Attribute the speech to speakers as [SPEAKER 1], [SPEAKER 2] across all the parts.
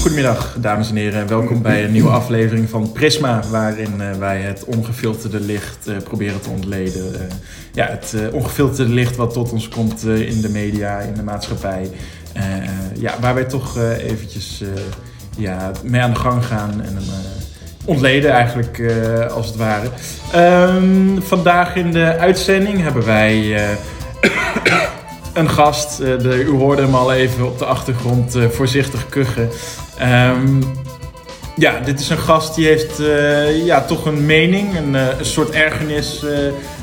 [SPEAKER 1] Goedemiddag, dames en heren, en welkom bij een nieuwe aflevering van Prisma, waarin eh, wij het ongefilterde licht eh, proberen te ontleden. Eh, ja, het eh, ongefilterde licht wat tot ons komt eh, in de media, in de maatschappij. Eh, eh, ja, waar wij toch eh, eventjes eh, ja, mee aan de gang gaan en hem eh, ontleden eigenlijk, eh, als het ware. Ehm, vandaag in de uitzending hebben wij... eh, een gast. Eh, de, u hoorde hem al even op de achtergrond eh, voorzichtig kuchen. Ehm, ja, dit is een gast die heeft eh, ja, toch een mening, een, eh, een soort ergernis, eh,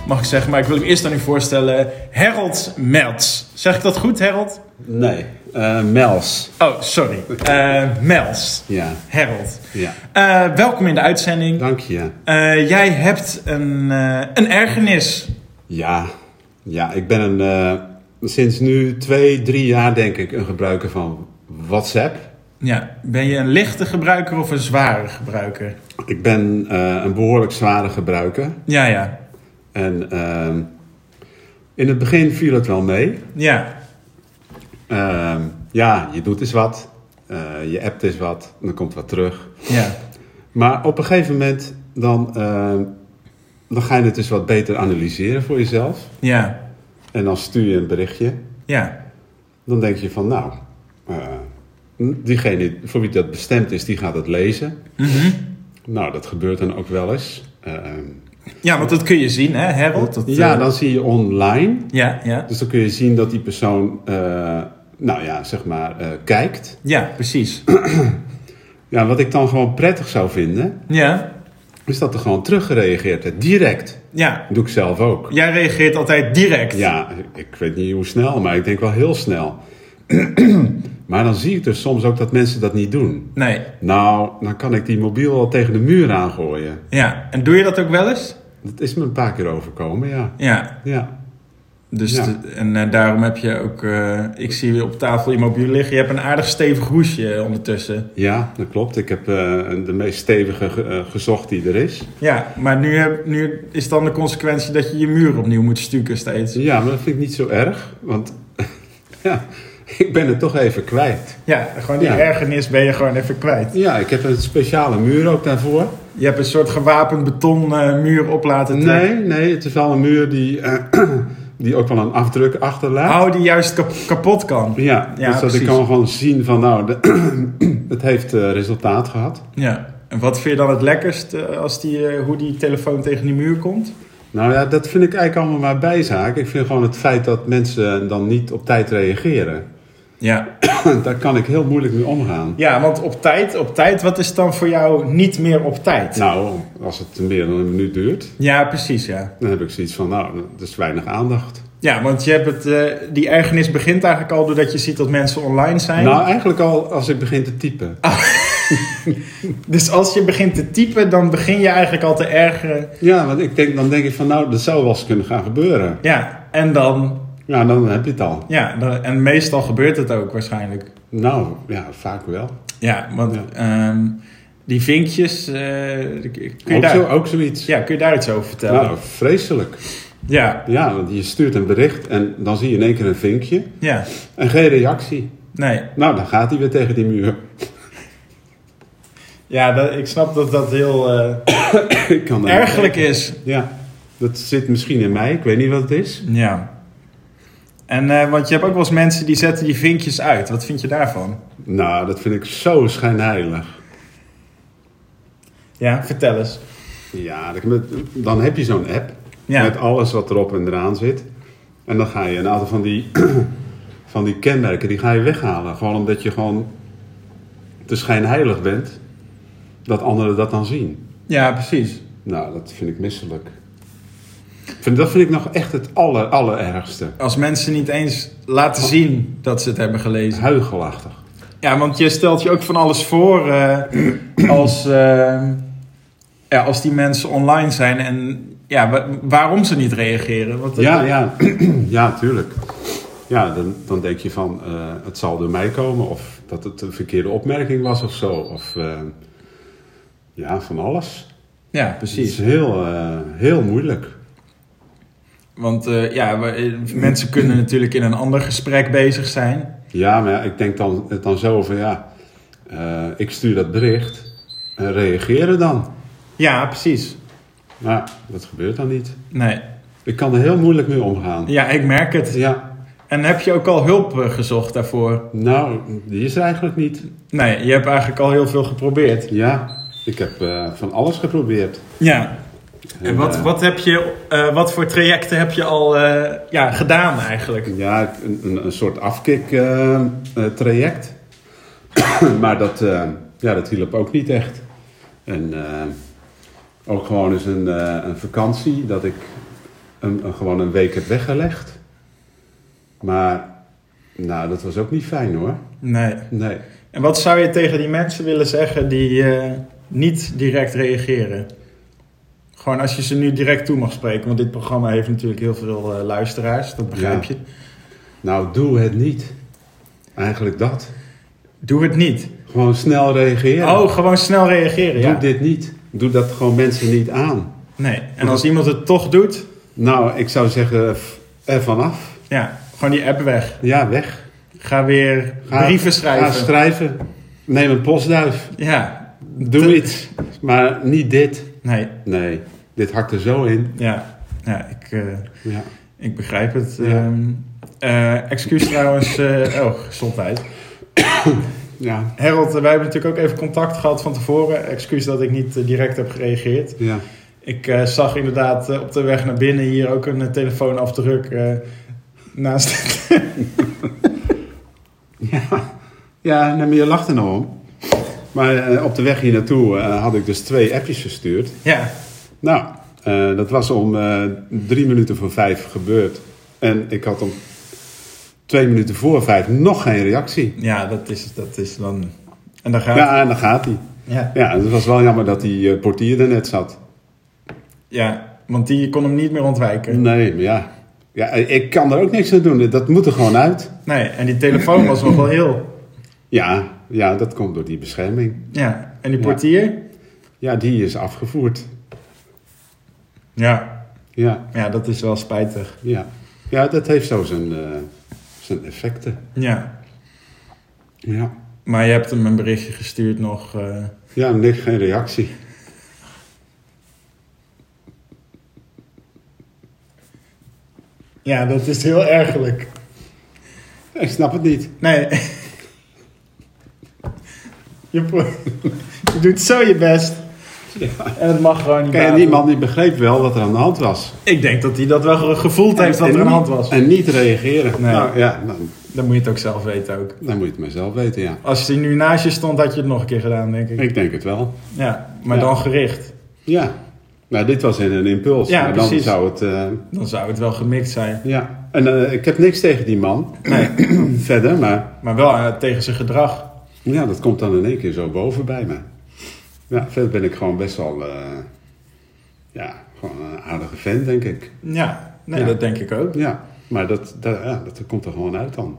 [SPEAKER 1] mag ik zeggen. Maar ik wil hem eerst aan u voorstellen. Harold Melts. Zeg ik dat goed, Harold?
[SPEAKER 2] Nee, eh, Mels.
[SPEAKER 1] Oh, sorry. Eh Melts.
[SPEAKER 2] Ja,
[SPEAKER 1] Harold.
[SPEAKER 2] ja.
[SPEAKER 1] Eh, welkom in de uitzending.
[SPEAKER 2] Dank je.
[SPEAKER 1] Eh, jij hebt een, eh, een ergernis.
[SPEAKER 2] Ja, ja ik ben een, eh, sinds nu twee, drie jaar denk ik een gebruiker van WhatsApp.
[SPEAKER 1] Ja, ben je een lichte gebruiker of een zware gebruiker?
[SPEAKER 2] Ik ben eh, een behoorlijk zware gebruiker.
[SPEAKER 1] Ja, ja.
[SPEAKER 2] En ehm, in het begin viel het wel mee.
[SPEAKER 1] Ja,
[SPEAKER 2] Ehm, ja, je doet eens wat. Eh, je appt eens wat. Dan komt wat terug.
[SPEAKER 1] ja.
[SPEAKER 2] Maar op een gegeven moment dan, ehm, dan ga je het dus wat beter analyseren voor jezelf.
[SPEAKER 1] Ja,
[SPEAKER 2] En dan stuur je een berichtje.
[SPEAKER 1] ja,
[SPEAKER 2] dan denk je van nou, eh, diegene voor wie dat bestemd is, die gaat het lezen.
[SPEAKER 1] Mhm.
[SPEAKER 2] Nou, dat gebeurt dan ook wel eens. Eh,
[SPEAKER 1] ja, want dat kun je zien, hè, Harold? Ehm, Dat, eh,
[SPEAKER 2] ja, dan zie je online.
[SPEAKER 1] ja, ja,
[SPEAKER 2] Dus dan kun je zien dat die persoon, eh, nou ja, zeg maar, eh, kijkt.
[SPEAKER 1] ja, precies.
[SPEAKER 2] Ja, wat ik dan gewoon prettig zou vinden,
[SPEAKER 1] Ja, is
[SPEAKER 2] is dat er gewoon teruggereageerd werd. Direct.
[SPEAKER 1] ja.
[SPEAKER 2] Dat doe ik zelf ook.
[SPEAKER 1] Jij reageert altijd direct.
[SPEAKER 2] Ja, ik weet niet hoe snel, maar ik denk wel heel snel. maar dan zie ik dus soms ook dat mensen dat niet doen.
[SPEAKER 1] Nee,
[SPEAKER 2] Nou, dan kan ik die mobiel al tegen de muur aangooien.
[SPEAKER 1] ja. En doe je dat ook wel eens?
[SPEAKER 2] Dat is me een paar keer overkomen, ja.
[SPEAKER 1] Ja.
[SPEAKER 2] Ja,
[SPEAKER 1] Dus
[SPEAKER 2] Ja.
[SPEAKER 1] de- en eh, daarom heb je ook... eh, ik zie weer op tafel je mobiel liggen. Je hebt een aardig stevig hoesje ondertussen.
[SPEAKER 2] ja dat klopt. Ik heb eh, de meest stevige ge- eh, gezocht die er is.
[SPEAKER 1] Ja, maar nu, heb- nu is dan de consequentie dat je je muur opnieuw moet stukken steeds.
[SPEAKER 2] Ja, maar dat vind ik niet zo erg, want ja, ik ben het toch even kwijt.
[SPEAKER 1] Ja, gewoon die
[SPEAKER 2] Ja.
[SPEAKER 1] ergernis ben je gewoon even kwijt.
[SPEAKER 2] Ja, ik heb een speciale muur ook daarvoor.
[SPEAKER 1] Je hebt een soort gewapend beton eh, muur op laten trekken.
[SPEAKER 2] Nee, nee, het is wel een muur die, eh, die ook wel een afdruk achterlaat.
[SPEAKER 1] Hou die juist kap- kapot kan.
[SPEAKER 2] Ja,
[SPEAKER 1] Oh. Ja,
[SPEAKER 2] dus dat
[SPEAKER 1] precies.
[SPEAKER 2] ik kan gewoon zien van nou, de- het heeft eh, resultaat gehad.
[SPEAKER 1] Ja. En wat vind je dan het lekkerst eh, als die, eh, hoe die telefoon tegen die muur komt?
[SPEAKER 2] Nou ja, dat vind ik eigenlijk allemaal maar bijzaak. Ik vind gewoon het feit dat mensen dan niet op tijd reageren.
[SPEAKER 1] Ja.
[SPEAKER 2] Daar kan ik heel moeilijk mee omgaan.
[SPEAKER 1] Ja, want op tijd, op tijd, wat is dan voor jou niet meer op tijd?
[SPEAKER 2] Nou, als het meer dan een minuut duurt,
[SPEAKER 1] Ja, precies, ja.
[SPEAKER 2] dan heb ik zoiets van, nou, dat is weinig aandacht.
[SPEAKER 1] Ja, want je hebt het, eh, die ergernis begint eigenlijk al doordat je ziet dat mensen online zijn.
[SPEAKER 2] Nou, eigenlijk al als ik begin te typen.
[SPEAKER 1] Dus als je begint te typen, dan begin je eigenlijk al te ergeren.
[SPEAKER 2] Ja, want ik denk, dan denk ik van, nou, dat zou wel eens kunnen gaan gebeuren.
[SPEAKER 1] Ja, en dan,
[SPEAKER 2] Ja, dan heb je het al.
[SPEAKER 1] ja, dan, en meestal gebeurt het ook waarschijnlijk.
[SPEAKER 2] Nou, ja, vaak wel.
[SPEAKER 1] Ja, want
[SPEAKER 2] Ja.
[SPEAKER 1] ehm, die vinkjes, eh, kun, je
[SPEAKER 2] Ook,
[SPEAKER 1] daar,
[SPEAKER 2] zo, ook zoiets.
[SPEAKER 1] ja, kun je daar iets over vertellen?
[SPEAKER 2] Nou, vreselijk.
[SPEAKER 1] Ja,
[SPEAKER 2] Ja, want je stuurt een bericht en dan zie je in één keer een vinkje
[SPEAKER 1] ja,
[SPEAKER 2] en geen reactie.
[SPEAKER 1] nee.
[SPEAKER 2] Nou, dan gaat hij weer tegen die muur.
[SPEAKER 1] Ja, dat, ik snap dat dat heel eh,
[SPEAKER 2] Ik kan daar
[SPEAKER 1] ergerlijk
[SPEAKER 2] niet
[SPEAKER 1] is.
[SPEAKER 2] tegen. Ja, dat zit misschien in mij. Ik weet niet wat het is.
[SPEAKER 1] Ja. En eh, want je hebt ook wel eens mensen die zetten die vinkjes uit. Wat vind je daarvan?
[SPEAKER 2] Nou, dat vind ik zo schijnheilig.
[SPEAKER 1] Ja, vertel eens.
[SPEAKER 2] Ja, dat- met- dan heb je zo'n app
[SPEAKER 1] Ja.
[SPEAKER 2] met alles wat erop en eraan zit. En dan ga je een aantal van die, van die kenmerken, die ga je weghalen. Gewoon omdat je gewoon te schijnheilig bent, dat anderen dat dan zien.
[SPEAKER 1] Ja, precies.
[SPEAKER 2] Nou, dat vind ik misselijk. Ik vind- Dat vind ik nog echt het aller, allerergste.
[SPEAKER 1] Als mensen niet eens laten zien dat ze het hebben gelezen.
[SPEAKER 2] Huigelachtig.
[SPEAKER 1] Ja, want je stelt je ook van alles voor eh, als, eh, ja, als die mensen online zijn en ja, wa- waarom ze niet reageren. Want dat-
[SPEAKER 2] Ja, ja. ja, tuurlijk. Ja, dan, dan denk je van, eh, het zal door mij komen. Of dat het een verkeerde opmerking was of zo. Of eh, ja, van alles.
[SPEAKER 1] ja,
[SPEAKER 2] Het
[SPEAKER 1] precies.
[SPEAKER 2] is heel, eh, heel moeilijk.
[SPEAKER 1] Want eh, ja, we- eh, mensen kunnen natuurlijk in een ander gesprek bezig zijn.
[SPEAKER 2] Ja, maar ja, ik denk dan, het dan zo van, ja... eh, ik stuur dat bericht en reageren dan.
[SPEAKER 1] Ja, precies.
[SPEAKER 2] Maar dat gebeurt dan niet.
[SPEAKER 1] Nee.
[SPEAKER 2] Ik kan er heel moeilijk mee omgaan.
[SPEAKER 1] Ja, ik merk het.
[SPEAKER 2] Ja,
[SPEAKER 1] En heb je ook al hulp eh, gezocht daarvoor?
[SPEAKER 2] nou, die is er eigenlijk niet.
[SPEAKER 1] Nee, je hebt eigenlijk al heel veel geprobeerd.
[SPEAKER 2] Ja, ik heb eh, van alles geprobeerd.
[SPEAKER 1] Ja. En wat,
[SPEAKER 2] eh,
[SPEAKER 1] wat, heb je, eh, wat voor trajecten heb je al eh, ja, gedaan eigenlijk?
[SPEAKER 2] Ja, een, een, een soort afkick-traject. maar dat, eh, ja, dat hielp ook niet echt. En eh, ook gewoon eens een, eh, een vakantie dat ik een, een- gewoon een week heb weggelegd. Maar nou, dat was ook niet fijn hoor.
[SPEAKER 1] Nee.
[SPEAKER 2] Nee.
[SPEAKER 1] En wat zou je tegen die mensen willen zeggen die eh, niet direct reageren? Gewoon als je ze nu direct toe mag spreken, want dit programma heeft natuurlijk heel veel eh, luisteraars, dat begrijp je.
[SPEAKER 2] Ja. Nou, doe het niet. Eigenlijk dat.
[SPEAKER 1] Doe het niet.
[SPEAKER 2] Gewoon snel reageren.
[SPEAKER 1] Oh, gewoon snel reageren,
[SPEAKER 2] doe
[SPEAKER 1] ja.
[SPEAKER 2] dit niet. Doe dat gewoon mensen niet aan.
[SPEAKER 1] Nee. En als iemand het toch doet,
[SPEAKER 2] Nou, ik zou zeggen, f- er vanaf.
[SPEAKER 1] ja, gewoon die app weg.
[SPEAKER 2] Ja, weg.
[SPEAKER 1] Ga weer
[SPEAKER 2] Ga-
[SPEAKER 1] brieven schrijven.
[SPEAKER 2] Ga schrijven. Neem een postduif.
[SPEAKER 1] ja.
[SPEAKER 2] Doe iets. Maar niet dit.
[SPEAKER 1] Nee,
[SPEAKER 2] Nee, dit hakt er zo in.
[SPEAKER 1] ja. Ja, ik... eh,
[SPEAKER 2] Ja.
[SPEAKER 1] Ik begrijp het.
[SPEAKER 2] Ja.
[SPEAKER 1] Ehm, eh, excuus trouwens. eh, oh, gezondheid.
[SPEAKER 2] Ja.
[SPEAKER 1] Harold, eh, wij hebben natuurlijk ook even contact gehad van tevoren. Excuus dat ik niet eh, direct heb gereageerd.
[SPEAKER 2] Ja.
[SPEAKER 1] Ik eh, zag inderdaad eh, op de weg naar binnen hier ook een eh, telefoonafdruk eh, naast.
[SPEAKER 2] Ja, ja nee, maar je lacht er nou om. Maar eh, op de weg hier naartoe eh, had ik dus twee appjes gestuurd.
[SPEAKER 1] ja,
[SPEAKER 2] Nou, eh, dat was om eh, drie minuten voor vijf gebeurd. En ik had om twee minuten voor vijf nog geen reactie.
[SPEAKER 1] ja dat, is, dat is dan. En dan gaat. Ja.
[SPEAKER 2] Ja, en dan gaat hij.
[SPEAKER 1] Ja.
[SPEAKER 2] Ja, het was wel jammer dat die eh, portier er net zat.
[SPEAKER 1] want die kon hem niet meer ontwijken.
[SPEAKER 2] Nee, maar ja. ja. Ik kan er ook niks aan doen. Dat moet er gewoon uit.
[SPEAKER 1] Nee, en die telefoon was nog wel heel.
[SPEAKER 2] Ja, ja dat komt door die bescherming.
[SPEAKER 1] Ja, en die
[SPEAKER 2] Ja.
[SPEAKER 1] portier?
[SPEAKER 2] Ja, die is afgevoerd.
[SPEAKER 1] Ja,
[SPEAKER 2] Ja,
[SPEAKER 1] ja dat is wel spijtig.
[SPEAKER 2] ja. ja dat heeft zo zijn, eh, zijn effecten.
[SPEAKER 1] Ja,
[SPEAKER 2] Ja.
[SPEAKER 1] Maar je hebt hem een berichtje gestuurd nog. eh,
[SPEAKER 2] Ja, niks, geen reactie.
[SPEAKER 1] Ja, dat is heel ergelijk.
[SPEAKER 2] Ik snap het niet.
[SPEAKER 1] Nee. je, pro- je doet zo je best. En het mag gewoon niet.
[SPEAKER 2] Kijk, en
[SPEAKER 1] baten.
[SPEAKER 2] die man die begreep wel wat er aan de hand was.
[SPEAKER 1] Ik denk dat hij dat wel ge- gevoeld heeft dat
[SPEAKER 2] En
[SPEAKER 1] er aan de
[SPEAKER 2] niet-
[SPEAKER 1] hand was.
[SPEAKER 2] En niet reageren.
[SPEAKER 1] Nee.
[SPEAKER 2] Nou ja, nou,
[SPEAKER 1] Dan moet je het ook zelf weten ook.
[SPEAKER 2] dan moet je het maar zelf weten, ja.
[SPEAKER 1] Als hij nu naast je stond, had je het nog een keer gedaan, denk ik.
[SPEAKER 2] Ik denk het wel.
[SPEAKER 1] Ja, maar
[SPEAKER 2] Ja.
[SPEAKER 1] dan gericht.
[SPEAKER 2] Ja. Nou, dit was in een impuls.
[SPEAKER 1] Ja,
[SPEAKER 2] maar dan
[SPEAKER 1] precies.
[SPEAKER 2] zou het... eh,
[SPEAKER 1] Dan zou het wel gemixt zijn.
[SPEAKER 2] ja. En eh, ik heb niks tegen die man.
[SPEAKER 1] Nee,
[SPEAKER 2] Verder, maar...
[SPEAKER 1] maar wel eh, tegen zijn gedrag.
[SPEAKER 2] Ja, dat komt dan in één keer zo boven bij me. Ja, verder ben ik gewoon best wel... eh, ja, gewoon een aardige fan, denk ik.
[SPEAKER 1] Ja, nee,
[SPEAKER 2] Ja.
[SPEAKER 1] dat denk ik ook.
[SPEAKER 2] Ja, maar dat, dat, ja, dat komt er gewoon uit dan.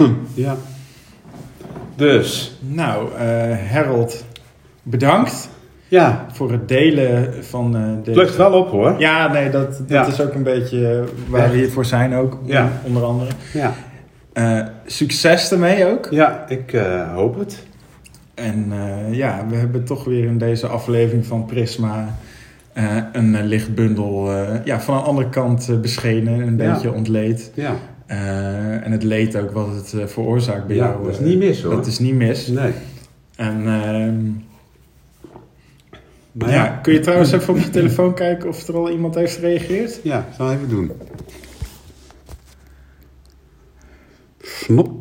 [SPEAKER 2] ja. Dus,
[SPEAKER 1] Nou, eh Harold, bedankt.
[SPEAKER 2] ja.
[SPEAKER 1] voor het delen van eh
[SPEAKER 2] Het
[SPEAKER 1] deze...
[SPEAKER 2] lukt wel op, hoor.
[SPEAKER 1] Ja, nee, dat, dat
[SPEAKER 2] Ja.
[SPEAKER 1] is ook een beetje eh, waar we hier voor zijn ook,
[SPEAKER 2] Ja.
[SPEAKER 1] onder andere.
[SPEAKER 2] Ja,
[SPEAKER 1] Eh, succes ermee ook.
[SPEAKER 2] ja ik eh, hoop het.
[SPEAKER 1] En eh, ja, we hebben toch weer in deze aflevering van Prisma eh, een eh, lichtbundel eh, ja, van een andere kant eh, beschenen, een
[SPEAKER 2] Ja.
[SPEAKER 1] beetje ontleed.
[SPEAKER 2] Ja,
[SPEAKER 1] Eh, en het leed ook wat het eh, veroorzaakt bij
[SPEAKER 2] Ja,
[SPEAKER 1] jou.
[SPEAKER 2] dat is
[SPEAKER 1] eh,
[SPEAKER 2] niet mis, hoor.
[SPEAKER 1] Dat is niet mis.
[SPEAKER 2] nee.
[SPEAKER 1] En ehm,
[SPEAKER 2] Maar
[SPEAKER 1] ja,
[SPEAKER 2] ja,
[SPEAKER 1] kun je trouwens even op je telefoon kijken of er al iemand heeft gereageerd?
[SPEAKER 2] ja, zal even doen. Snop.